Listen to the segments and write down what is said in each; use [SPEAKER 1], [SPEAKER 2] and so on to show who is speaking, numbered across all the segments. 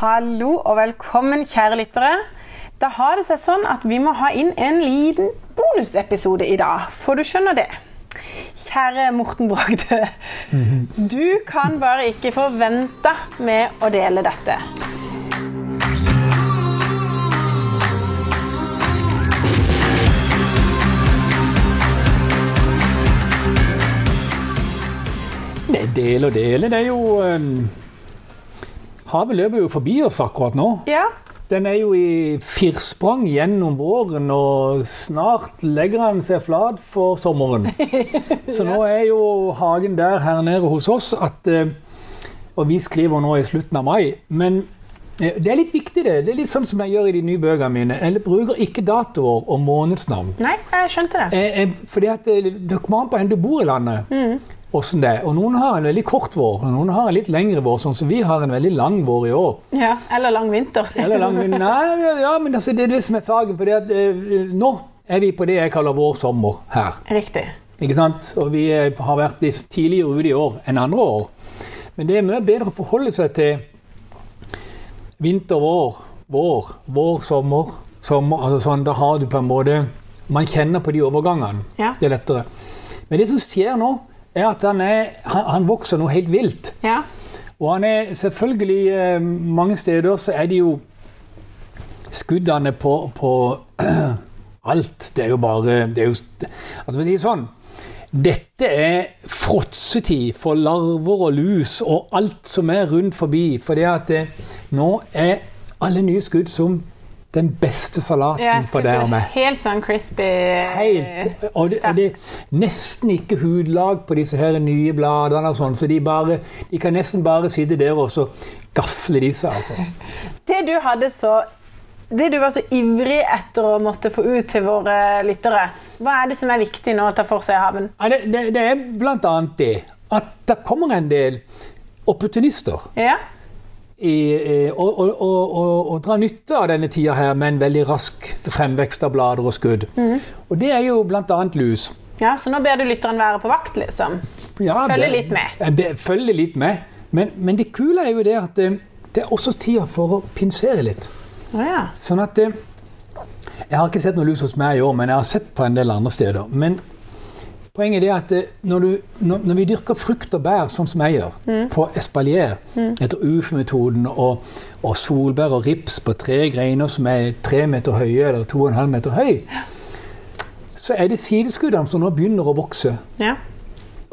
[SPEAKER 1] Hallo og velkommen, kjære lyttere. Da har det seg sånn at vi må ha inn en liten bonusepisode i dag, for du skjønner det. Kjære Morten Bragde. Du kan bare ikke forvente med å dele dette.
[SPEAKER 2] Nei, del og dele, det er jo eh, Havet løper jo forbi oss akkurat nå.
[SPEAKER 1] Ja,
[SPEAKER 2] Den er jo i firsprang gjennom våren, og snart legger han seg flat for sommeren. Så nå er jo hagen der her nede hos oss at eh, Og vi skriver nå i slutten av mai, men eh, det er litt viktig, det. Det er litt sånn som jeg gjør i de nye bøkene mine. Jeg bruker ikke datoer og månedsnavn.
[SPEAKER 1] nei, jeg skjønte det.
[SPEAKER 2] Eh, eh, fordi at eh, Det kommer an på hvor du bor i landet. Hvordan det er. Og Noen har en veldig kort vår, og noen har en litt lengre vår, sånn som vi har en veldig lang vår i år.
[SPEAKER 1] Ja, Eller lang vinter.
[SPEAKER 2] Eller lang vinter. Nei, ja, ja, men altså, det er det som er saken. For det at, eh, nå er vi på det jeg kaller vår sommer her.
[SPEAKER 1] Riktig.
[SPEAKER 2] Ikke sant? Og vi eh, har vært litt tidligere ute i år enn andre år. Men det er mye bedre å forholde seg til vinter, vår, vår, vår, sommer, sommer. Altså sånn, da har du på en måte Man kjenner på de overgangene.
[SPEAKER 1] Ja.
[SPEAKER 2] Det er lettere. Men det som skjer nå, er at han, er, han, han vokser noe helt vilt.
[SPEAKER 1] Ja.
[SPEAKER 2] Og han er selvfølgelig eh, Mange steder så er det jo skuddene på, på alt. Det er jo bare det er jo, altså, for å si det sånn, Dette er fråtsetid for larver og lus og alt som er rundt forbi. For det at eh, nå er alle nye skudd som den beste salaten
[SPEAKER 1] Jeg
[SPEAKER 2] for deg og
[SPEAKER 1] skulle
[SPEAKER 2] meg.
[SPEAKER 1] helt sånn crispy
[SPEAKER 2] Helt. Og det, og det er nesten ikke hudlag på disse her nye bladene og sånn, så de, bare, de kan nesten bare sitte der og så gafle de seg, altså.
[SPEAKER 1] Det du hadde så det du var så ivrig etter å måtte få ut til våre lyttere, hva er det som er viktig nå å ta for seg i haven?
[SPEAKER 2] Ja, det, det, det er blant annet det at det kommer en del opportunister
[SPEAKER 1] Ja,
[SPEAKER 2] i, eh, og, og, og, og, og drar nytte av denne tida her med en veldig rask fremvekst av blader og skudd.
[SPEAKER 1] Mhm.
[SPEAKER 2] Og det er jo blant annet lus.
[SPEAKER 1] ja Så nå ber du lytteren være på vakt, liksom?
[SPEAKER 2] Ja,
[SPEAKER 1] Følge
[SPEAKER 2] det-
[SPEAKER 1] litt med.
[SPEAKER 2] Ja, det- Følge litt med. Men, men det kule er jo det at eh, det er også tida for å pinsere litt.
[SPEAKER 1] Å ja.
[SPEAKER 2] Sånn at eh, Jeg har ikke sett noe lus hos meg i år, men jeg har sett på en del andre steder. Men poenget er at eh, når, du, når, når vi dyrker frukt og bær, sånn som jeg gjør, på espalier etter UF-metoden, og, og solbær og rips på tre greiner som er tre meter høye eller to og en halv meter høy, så er det sideskuddene som nå begynner å vokse.
[SPEAKER 1] ja.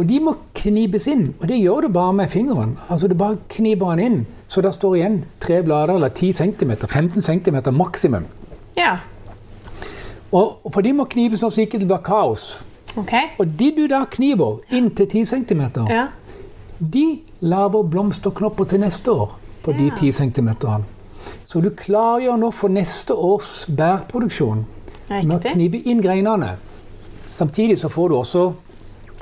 [SPEAKER 2] Og de må knipes inn, og det gjør du bare med fingeren. Altså Du bare kniper den inn, så der står igjen tre blader eller 10 cm, 15 cm maksimum.
[SPEAKER 1] Ja.
[SPEAKER 2] Og og for de må knipes nå så ikke det blir kaos.
[SPEAKER 1] OK.
[SPEAKER 2] Og de du da kniver inntil 10 cm,
[SPEAKER 1] Ja.
[SPEAKER 2] de lager blomsterknopper til neste år på de
[SPEAKER 1] Ja.
[SPEAKER 2] 10 cm. Så du klargjør nå for neste års bærproduksjon med å
[SPEAKER 1] Riktig.
[SPEAKER 2] knipe inn greinene. Samtidig så får du også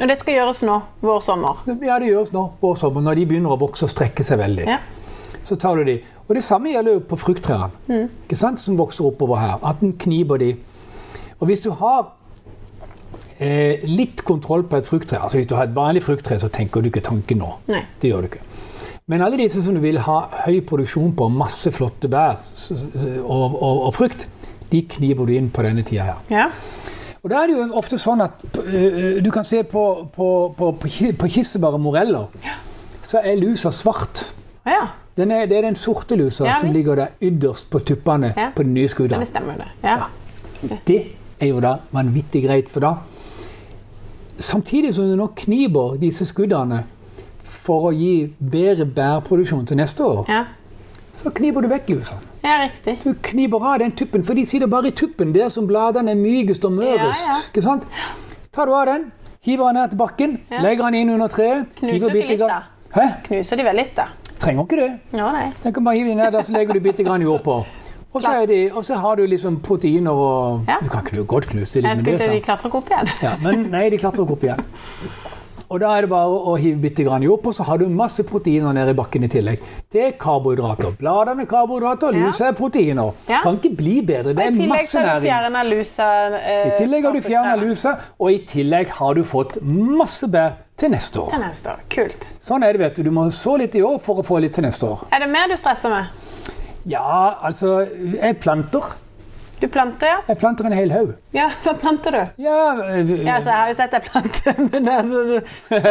[SPEAKER 1] Og det skal gjøres nå, vår sommer.
[SPEAKER 2] Ja, det gjøres nå på sommeren når de begynner å vokse og strekke seg veldig.
[SPEAKER 1] Ja.
[SPEAKER 2] så tar du de. Og det samme gjelder jo på frukttrærne, ikke sant, som vokser oppover her. At en kniper de. Og hvis du har eh, litt kontroll på et frukttre, altså hvis du har et vanlig frukttre, så tenker du ikke tanken nå.
[SPEAKER 1] Nei.
[SPEAKER 2] Det gjør du ikke. Men alle disse som du vil ha høy produksjon på, masse flotte bær s- s- og, og, og frukt, de kniper du inn på denne tida her.
[SPEAKER 1] Ja.
[SPEAKER 2] Og da er det jo ofte sånn at eh, du kan se på, på, på, på, ki- på kirsebær og moreller, så er lusa svart.
[SPEAKER 1] Å ja.
[SPEAKER 2] Den er, det er den sorte lusa
[SPEAKER 1] Ja,
[SPEAKER 2] som
[SPEAKER 1] visst.
[SPEAKER 2] ligger der ytterst på tuppene
[SPEAKER 1] Ja.
[SPEAKER 2] på den nye skuddene.
[SPEAKER 1] Det stemmer, det. Ja.
[SPEAKER 2] Det er jo da vanvittig greit, for da Samtidig som du nå kniper disse skuddene for å gi bedre bærproduksjon til neste år,
[SPEAKER 1] Ja.
[SPEAKER 2] så kniper du vekk lusa.
[SPEAKER 1] ja, riktig.
[SPEAKER 2] Du kniper av den tuppen, for de sitter bare i tuppen, der som bladene er mykest og mørest.
[SPEAKER 1] Ja, ja.
[SPEAKER 2] Ikke sant? Tar du av den, hiver den ned til bakken,
[SPEAKER 1] Ja.
[SPEAKER 2] legger den inn under treet
[SPEAKER 1] Knuser
[SPEAKER 2] hiver
[SPEAKER 1] du litt,
[SPEAKER 2] bitte grann- Hæ?
[SPEAKER 1] Knuser de vel litt, da?
[SPEAKER 2] Trenger ikke det.
[SPEAKER 1] Ja, nei.
[SPEAKER 2] Den kan bare hive inn her, der så legger du bitte grann jord på. Og så, er de, og så har du liksom proteiner og
[SPEAKER 1] Ja.
[SPEAKER 2] Du kan knu, godt knuse
[SPEAKER 1] Jeg
[SPEAKER 2] litt med
[SPEAKER 1] skulle
[SPEAKER 2] det.
[SPEAKER 1] til de
[SPEAKER 2] sant?
[SPEAKER 1] klatrer ikke opp igjen.
[SPEAKER 2] Ja, men nei, de klatrer ikke opp igjen. Og da er det bare å hive bitte grann jord på, så har du masse proteiner nede i bakken i tillegg. Det er karbohydrater. Bladene er karbohydrater,
[SPEAKER 1] Ja.
[SPEAKER 2] lusa er proteiner.
[SPEAKER 1] Ja.
[SPEAKER 2] Kan ikke bli bedre. Det
[SPEAKER 1] I
[SPEAKER 2] er
[SPEAKER 1] tillegg så
[SPEAKER 2] masse
[SPEAKER 1] har du
[SPEAKER 2] næring.
[SPEAKER 1] fjerna lusa. eh,
[SPEAKER 2] I tillegg har du
[SPEAKER 1] fra
[SPEAKER 2] fjerna
[SPEAKER 1] frukttrærne.
[SPEAKER 2] lusa, og i tillegg har du fått masse bær til neste år.
[SPEAKER 1] Til neste år. Kult.
[SPEAKER 2] Sånn er det, vet du. Du må så litt i år for å få litt til neste år.
[SPEAKER 1] Er det mer du stresser med?
[SPEAKER 2] Ja, altså Jeg planter.
[SPEAKER 1] Du planter, ja?
[SPEAKER 2] Jeg planter en hel haug.
[SPEAKER 1] Ja, hva planter du?
[SPEAKER 2] Ja,
[SPEAKER 1] Ja, altså, jeg har jo sett deg plante, men altså, du- hva,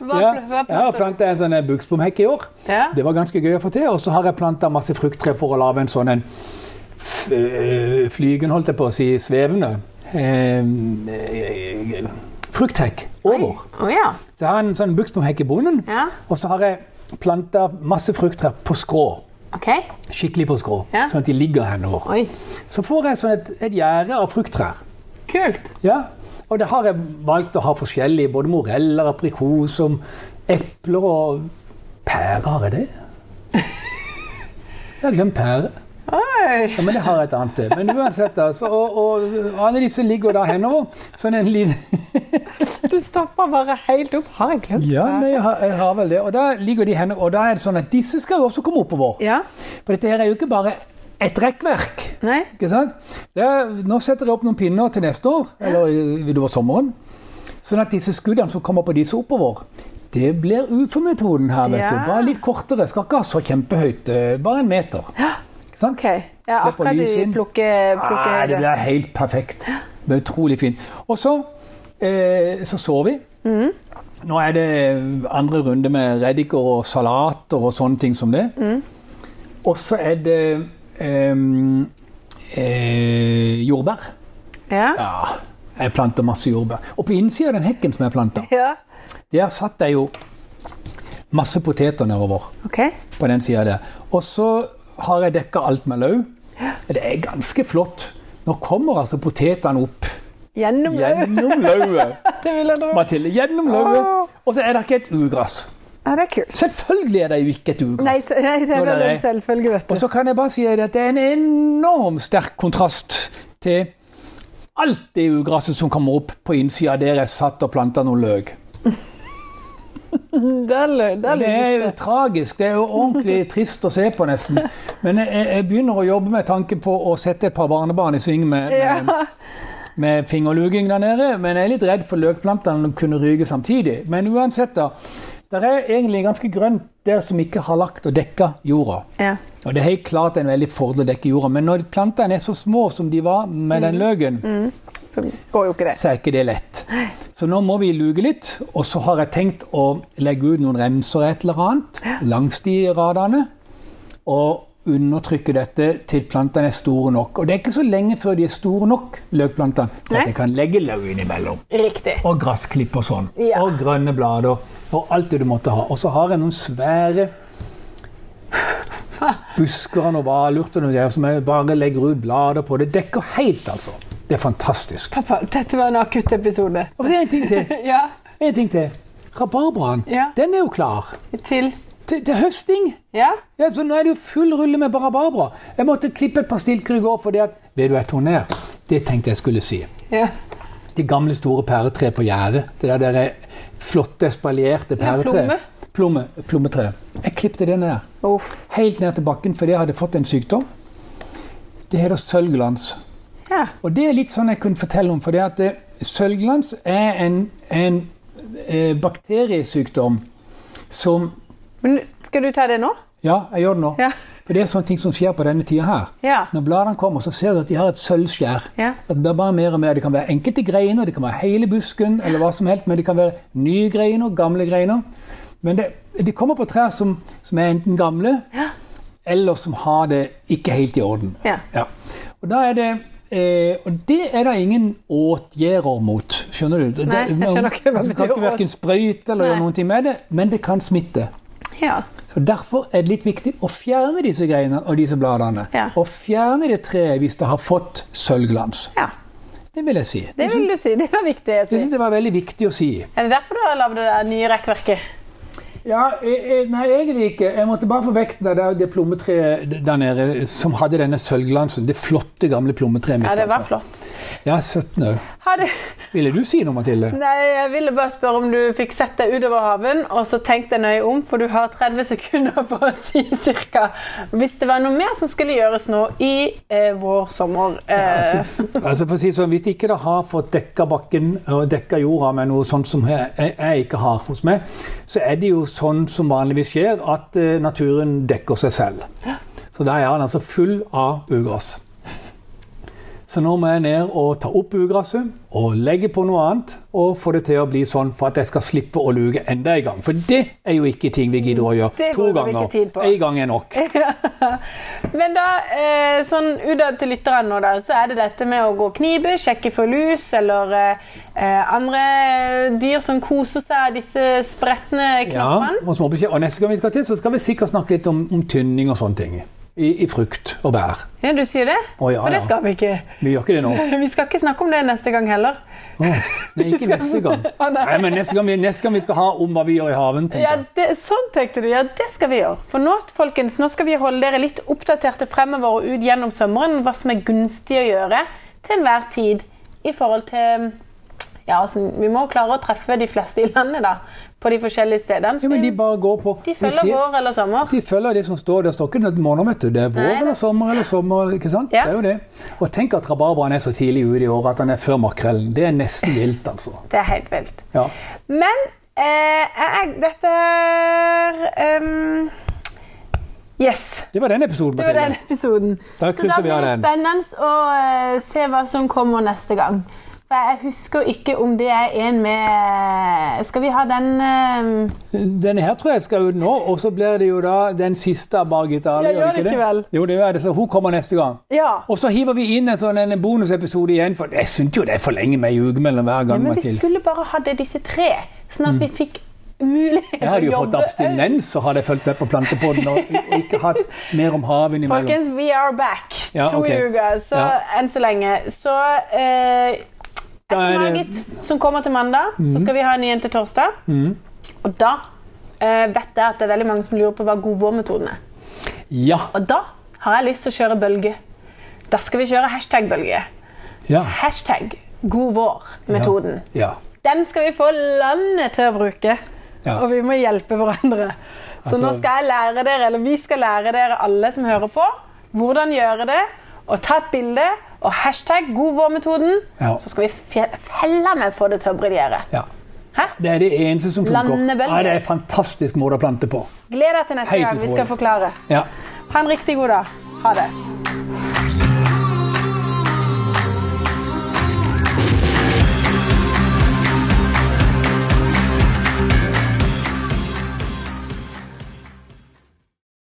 [SPEAKER 1] hva,
[SPEAKER 2] ja,
[SPEAKER 1] hva
[SPEAKER 2] jeg har
[SPEAKER 1] planter du?
[SPEAKER 2] planta en sånn eh, buksbomhekk i år.
[SPEAKER 1] Ja.
[SPEAKER 2] Det var ganske gøy å få til. Og så har jeg planta masse frukttre for å lage en sånn en f- øh, flygen, holdt jeg på å si, svevende eh, eh, frukthekk over.
[SPEAKER 1] Å ja.
[SPEAKER 2] Så jeg har en sånn buksbomhekk i bonden,
[SPEAKER 1] ja.
[SPEAKER 2] og så har jeg planta masse frukttrær på skrå.
[SPEAKER 1] OK.
[SPEAKER 2] Skikkelig på skrå,
[SPEAKER 1] Ja.
[SPEAKER 2] sånn at de ligger henover.
[SPEAKER 1] Oi.
[SPEAKER 2] Så får jeg sånn et, et gjerde av frukttrær.
[SPEAKER 1] Kult.
[SPEAKER 2] Ja, og det har jeg valgt å ha forskjellig. Både moreller, aprikos, som epler og pærer. Har jeg det? Jeg har glemt pære.
[SPEAKER 1] Oi.
[SPEAKER 2] Ja, men det har jeg et annet sted. Men uansett, altså. Og, og alle disse ligger da henover. Sånn en liten
[SPEAKER 1] Du stopper bare helt opp. Har jeg glemt
[SPEAKER 2] Ja,
[SPEAKER 1] det?
[SPEAKER 2] men jeg har, jeg har vel det. Og da ligger de henover. Og da er det sånn at disse skal jo også komme oppover.
[SPEAKER 1] Ja.
[SPEAKER 2] For dette her er jo ikke bare et rekkverk.
[SPEAKER 1] Nei.
[SPEAKER 2] Ikke sant? Det er, nå setter jeg opp noen pinner til neste år, eller i- utover sommeren. Sånn at disse skuddene som kommer på disse oppover, det blir UFO-metoden her. vet du.
[SPEAKER 1] Ja.
[SPEAKER 2] Bare litt kortere. Skal ikke ha så kjempehøyt. eh, Bare en meter. Ikke sant?
[SPEAKER 1] OK. Ja,
[SPEAKER 2] Slipper
[SPEAKER 1] akkurat
[SPEAKER 2] lys
[SPEAKER 1] du
[SPEAKER 2] inn.
[SPEAKER 1] plukker, plukker
[SPEAKER 2] Nei, det blir helt perfekt. Det blir utrolig fint. Og så, eh, så sår vi.
[SPEAKER 1] Mm.
[SPEAKER 2] Nå er det andre runde med reddiker og salater og sånne ting som det.
[SPEAKER 1] Mm.
[SPEAKER 2] Og så er det ehm, eh, jordbær.
[SPEAKER 1] Ja.
[SPEAKER 2] Ja, jeg planter masse jordbær. Og på innsida av den hekken som jeg planta,
[SPEAKER 1] ja.
[SPEAKER 2] der satt jeg jo masse poteter nedover.
[SPEAKER 1] OK.
[SPEAKER 2] på den siden der. Og så har jeg dekka alt med løv. Det er ganske flott. Nå kommer altså potetene opp
[SPEAKER 1] Gjennom løpet.
[SPEAKER 2] gjennom løvet.
[SPEAKER 1] Det vil jeg tro.
[SPEAKER 2] Mathilde, gjennom løvet. Og så er det ikke et ugress.
[SPEAKER 1] Ja, det er kult.
[SPEAKER 2] Selvfølgelig er det jo ikke et
[SPEAKER 1] Nei,
[SPEAKER 2] ugress.
[SPEAKER 1] se- nei, det er
[SPEAKER 2] Nå,
[SPEAKER 1] vel
[SPEAKER 2] nei.
[SPEAKER 1] en selvfølge, vet
[SPEAKER 2] Og
[SPEAKER 1] du.
[SPEAKER 2] så kan jeg bare si det at det er en enorm sterk kontrast til alt det ugresset som kommer opp på innsida der jeg satt og planta noen løk.
[SPEAKER 1] Der lø- der
[SPEAKER 2] Det
[SPEAKER 1] lydes
[SPEAKER 2] er jo
[SPEAKER 1] det.
[SPEAKER 2] tragisk. Det er jo ordentlig trist å se på, nesten. Men jeg, jeg begynner å jobbe med tanke på å sette et par barnebarn i sving med, med,
[SPEAKER 1] Ja.
[SPEAKER 2] med fingerluging der nede. Men jeg er litt redd for løkplantene kunne ryke samtidig. Men uansett, da. Det er egentlig ganske grønt der som ikke har lagt og dekka jorda.
[SPEAKER 1] ja.
[SPEAKER 2] Og det er helt klart en veldig fordel å dekke jorda, men når plantene er så små som de var med den løken,
[SPEAKER 1] Så går jo ikke det.
[SPEAKER 2] så er ikke det lett. Så nå må vi luke litt, og så har jeg tenkt å legge ut noen remser et eller annet langs de radene, og undertrykke dette til plantene er store nok. Og det er ikke så lenge før de er store nok, løkplantene, til
[SPEAKER 1] Nei.
[SPEAKER 2] at jeg kan legge løv innimellom.
[SPEAKER 1] Riktig.
[SPEAKER 2] Og gressklipp og sånn.
[SPEAKER 1] Ja.
[SPEAKER 2] Og grønne blader. Og alt det du måtte ha. Og så har jeg noen svære busker og noe valurt og noe greier som jeg bare legger ut blader på. Det dekker helt, altså. Det er fantastisk.
[SPEAKER 1] Pappa, dette var en akutt episode.
[SPEAKER 2] Og så er det en ting til.
[SPEAKER 1] Ja,
[SPEAKER 2] En ting til. Rabarbraen,
[SPEAKER 1] Ja.
[SPEAKER 2] den er jo klar
[SPEAKER 1] til
[SPEAKER 2] til, til høsting.
[SPEAKER 1] Ja,
[SPEAKER 2] Ja, så Nå er det jo full rulle med rabarbra. Jeg måtte klippe et par stilker i går fordi at Vet du hva jeg tok ned? Det tenkte jeg skulle si.
[SPEAKER 1] ja.
[SPEAKER 2] Det gamle, store pæretreet på gjerdet. Det der, der flotte, spaljerte pæretreet.
[SPEAKER 1] plomme.
[SPEAKER 2] Plomme, plommetre. Jeg klippte det ned,
[SPEAKER 1] Uff.
[SPEAKER 2] helt ned til bakken, fordi jeg hadde fått en sykdom. Det heter sølvglans.
[SPEAKER 1] Ja.
[SPEAKER 2] Og det er litt sånn jeg kunne fortelle om, fordi at eh, sølvglans er en, en eh, bakteriesykdom som
[SPEAKER 1] Men skal du ta det nå?
[SPEAKER 2] Ja, jeg gjør det nå.
[SPEAKER 1] Ja.
[SPEAKER 2] For det er sånne ting som skjer på denne tida her.
[SPEAKER 1] Ja.
[SPEAKER 2] Når bladene kommer, så ser du at de har et sølvskjær.
[SPEAKER 1] Ja.
[SPEAKER 2] At Det blir bare mer og mer. Det kan være enkelte greiner, det kan være hele busken, eller hva som helst, men det kan være nye greiner, gamle greiner. Men det, de kommer på trær som, som er enten gamle,
[SPEAKER 1] Ja.
[SPEAKER 2] eller som har det ikke helt i orden.
[SPEAKER 1] Ja.
[SPEAKER 2] Og, da er det, eh, og det er det ingen åtgjerder mot, skjønner du? Det-
[SPEAKER 1] Nei, jeg skjønner ikke hva
[SPEAKER 2] Du
[SPEAKER 1] betyr
[SPEAKER 2] kan ikke
[SPEAKER 1] åt.
[SPEAKER 2] hverken sprøyte eller gjøre
[SPEAKER 1] Nei.
[SPEAKER 2] noen ting med det, men det kan smitte.
[SPEAKER 1] Ja.
[SPEAKER 2] Så Derfor er det litt viktig å fjerne disse greiene og disse bladene.
[SPEAKER 1] Ja.
[SPEAKER 2] Og fjerne det treet hvis det har fått sølvglans.
[SPEAKER 1] ja.
[SPEAKER 2] Det vil jeg si.
[SPEAKER 1] Det vil du si. Det var viktig. å
[SPEAKER 2] Jeg
[SPEAKER 1] si.
[SPEAKER 2] synes det var veldig viktig å si.
[SPEAKER 1] Er det derfor du har lagd det der nye rekkverket?
[SPEAKER 2] Ja, jeg- jeg- nei, egentlig ikke. Jeg måtte bare få vekk det, der- det plommetreet der nede som hadde denne sølvglansen. Det flotte, gamle plommetreet mitt.
[SPEAKER 1] Ja, det var
[SPEAKER 2] altså.
[SPEAKER 1] flott.
[SPEAKER 2] Ja, 17 år.
[SPEAKER 1] Har du
[SPEAKER 2] Ville du si noe, Mathilde?
[SPEAKER 1] Nei, jeg ville bare spørre om du fikk sett deg utover haven, og så tenk deg nøye om, for du har 30 sekunder på å si cirka hvis det var noe mer som skulle gjøres nå i eh, vår sommer. Eh,
[SPEAKER 2] Altså, altså for å si det sånn, Hvis ikke det har fått dekka bakken og dekka jorda med noe sånt som jeg, jeg- jeg ikke har hos meg, så er det jo sånn som vanligvis skjer, at eh, naturen dekker seg selv. Så der er han altså full av ugress. Så nå må jeg ned og ta opp ugresset og legge på noe annet og få det til å bli sånn for at jeg skal slippe å luke enda en gang. For det er jo ikke ting vi gidder å gjøre
[SPEAKER 1] Det
[SPEAKER 2] to
[SPEAKER 1] bruker vi ikke
[SPEAKER 2] ganger.
[SPEAKER 1] tid på.
[SPEAKER 2] Én gang er nok.
[SPEAKER 1] Men da, eh, sånn utad til lytterne nå, da, så er det dette med å gå knibe, sjekke for lus eller eh, eh, andre dyr som koser seg av disse spretne
[SPEAKER 2] Ja,
[SPEAKER 1] knoppene.
[SPEAKER 2] og, småbeskjed. og neste gang vi skal til, så skal vi sikkert snakke litt om, om tynning og sånne ting. I, I frukt og bær.
[SPEAKER 1] Ja. du sier det?
[SPEAKER 2] Å, ja,
[SPEAKER 1] For det
[SPEAKER 2] ja.
[SPEAKER 1] skal vi ikke.
[SPEAKER 2] Vi gjør ikke det nå.
[SPEAKER 1] Vi skal ikke snakke om det neste gang heller.
[SPEAKER 2] Åh, nei, ikke neste gang.
[SPEAKER 1] Å, nei.
[SPEAKER 2] Nei, men neste gang, vi, neste gang vi skal ha om hva vi gjør i haven,
[SPEAKER 1] Ja,
[SPEAKER 2] tenker jeg.
[SPEAKER 1] det, sånn tenkte du. Ja, det skal vi gjøre. For nå, folkens, nå skal vi holde dere litt oppdaterte fremover og ut gjennom sommeren hva som er gunstig å gjøre til enhver tid i forhold til Ja, altså, vi må klare å treffe de fleste i landet, da. På de forskjellige stedene.
[SPEAKER 2] Ja,
[SPEAKER 1] Så
[SPEAKER 2] men de bare går på.
[SPEAKER 1] de
[SPEAKER 2] Vi
[SPEAKER 1] følger
[SPEAKER 2] sier-
[SPEAKER 1] vår eller sommer.
[SPEAKER 2] De følger det som står. Det står ikke noen måneder, vet du. Det er vår
[SPEAKER 1] Nei,
[SPEAKER 2] eller
[SPEAKER 1] det-
[SPEAKER 2] sommer eller sommer. ikke sant?
[SPEAKER 1] Ja.
[SPEAKER 2] Det er jo det. Og tenk at rabarbraen er så tidlig ute i året at den er før makrellen. Det er nesten vilt, altså.
[SPEAKER 1] Det er helt vilt.
[SPEAKER 2] Ja.
[SPEAKER 1] Men eh, jeg, dette er ehm, Yes.
[SPEAKER 2] Det var den episoden.
[SPEAKER 1] Det var den
[SPEAKER 2] Mathilde.
[SPEAKER 1] episoden. Så
[SPEAKER 2] Da
[SPEAKER 1] da
[SPEAKER 2] krysser vi
[SPEAKER 1] blir
[SPEAKER 2] av
[SPEAKER 1] det
[SPEAKER 2] den.
[SPEAKER 1] spennende å eh, se hva som kommer neste gang. For jeg husker ikke om det er en med Skal vi ha den eh,
[SPEAKER 2] Denne her tror jeg skal ut nå, og så blir det jo da den siste av Margit Dale.
[SPEAKER 1] Ja, gjør det ikke vel?
[SPEAKER 2] Jo, det gjør det, så hun kommer neste gang.
[SPEAKER 1] Ja.
[SPEAKER 2] Og så hiver vi inn en sånn en bonusepisode igjen, for jeg syns jo det er for lenge med ei uke mellom hver gang.
[SPEAKER 1] Men vi
[SPEAKER 2] Mathilde.
[SPEAKER 1] skulle bare ha det disse tre, sånn at vi fikk mulighet
[SPEAKER 2] Jeg
[SPEAKER 1] til å
[SPEAKER 2] hadde jo fått
[SPEAKER 1] jobbe.
[SPEAKER 2] abstinens og hadde jeg fulgt med på plantepodden og og ikke hatt mer om haven imellom.
[SPEAKER 1] Folkens, we are back.
[SPEAKER 2] Ja,
[SPEAKER 1] to
[SPEAKER 2] ok.
[SPEAKER 1] uker, så
[SPEAKER 2] Ja.
[SPEAKER 1] enn så lenge. Så eh,
[SPEAKER 2] Da
[SPEAKER 1] etter
[SPEAKER 2] er det- Mm.
[SPEAKER 1] Margit, som kommer til mandag, så skal vi ha en igjen til torsdag. Og da eh, vet jeg at det er veldig mange som lurer på hva godvårmetoden er.
[SPEAKER 2] Ja.
[SPEAKER 1] Og da har jeg lyst til å kjøre bølge. Da skal vi kjøre hashtag-bølge.
[SPEAKER 2] ja.
[SPEAKER 1] Hashtag god vår-metoden.
[SPEAKER 2] Ja.
[SPEAKER 1] Den skal vi få landet til å bruke.
[SPEAKER 2] Ja.
[SPEAKER 1] Og vi må hjelpe hverandre. Så
[SPEAKER 2] Altså-
[SPEAKER 1] nå skal jeg lære dere, eller vi skal lære dere alle som hører på, hvordan gjøre det. Og ta et bilde og hashtag god vår-metoden.
[SPEAKER 2] Ja.
[SPEAKER 1] Så skal vi fe- felle med få det til å briljere.
[SPEAKER 2] ja.
[SPEAKER 1] Hæ?
[SPEAKER 2] Det er det eneste som funker.
[SPEAKER 1] Landebølger.
[SPEAKER 2] Ja, det er en fantastisk måte å plante på.
[SPEAKER 1] Gled deg til neste
[SPEAKER 2] Helt
[SPEAKER 1] gang vi
[SPEAKER 2] utrolig.
[SPEAKER 1] skal forklare.
[SPEAKER 2] Ja.
[SPEAKER 1] Ha en riktig god dag. Ha det.